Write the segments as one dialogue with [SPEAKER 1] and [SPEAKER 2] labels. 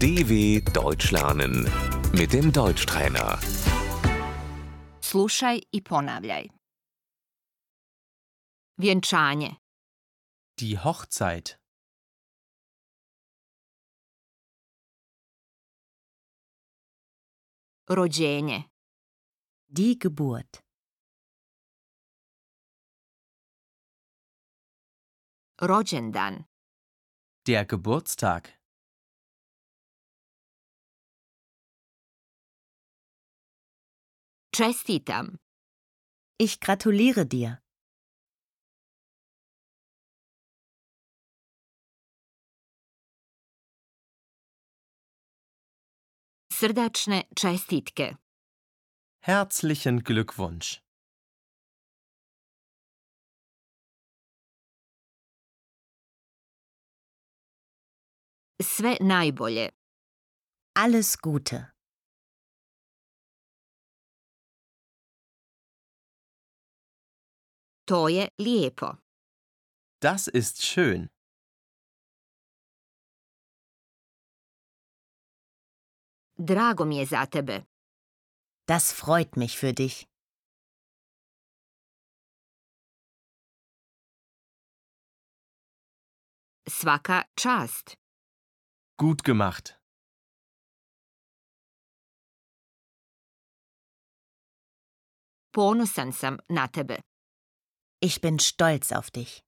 [SPEAKER 1] DW Deutsch lernen mit dem Deutschtrainer.
[SPEAKER 2] Slušaj i ponavljaj. Vjenčanje,
[SPEAKER 3] Die Hochzeit.
[SPEAKER 2] rođenje,
[SPEAKER 4] Die Geburt.
[SPEAKER 2] rođendan,
[SPEAKER 3] Der Geburtstag.
[SPEAKER 2] čestitam,
[SPEAKER 4] Ich gratuliere dir.
[SPEAKER 2] srdačne čestitke,
[SPEAKER 3] Herzlichen Glückwunsch.
[SPEAKER 2] sve najbolje,
[SPEAKER 4] Alles Gute.
[SPEAKER 2] to je lijepo.
[SPEAKER 3] Das ist schön.
[SPEAKER 2] Drago mi je za tebe.
[SPEAKER 4] Das freut mich für dich.
[SPEAKER 2] Svaka čast.
[SPEAKER 3] Gut gemacht.
[SPEAKER 2] Ponosan sam na tebe.
[SPEAKER 4] Ich bin stolz auf dich.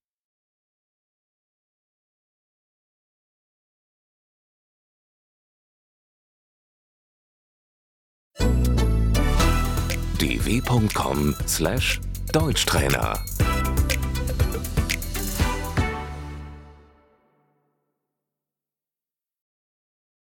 [SPEAKER 1] dw.com/deutschtrainer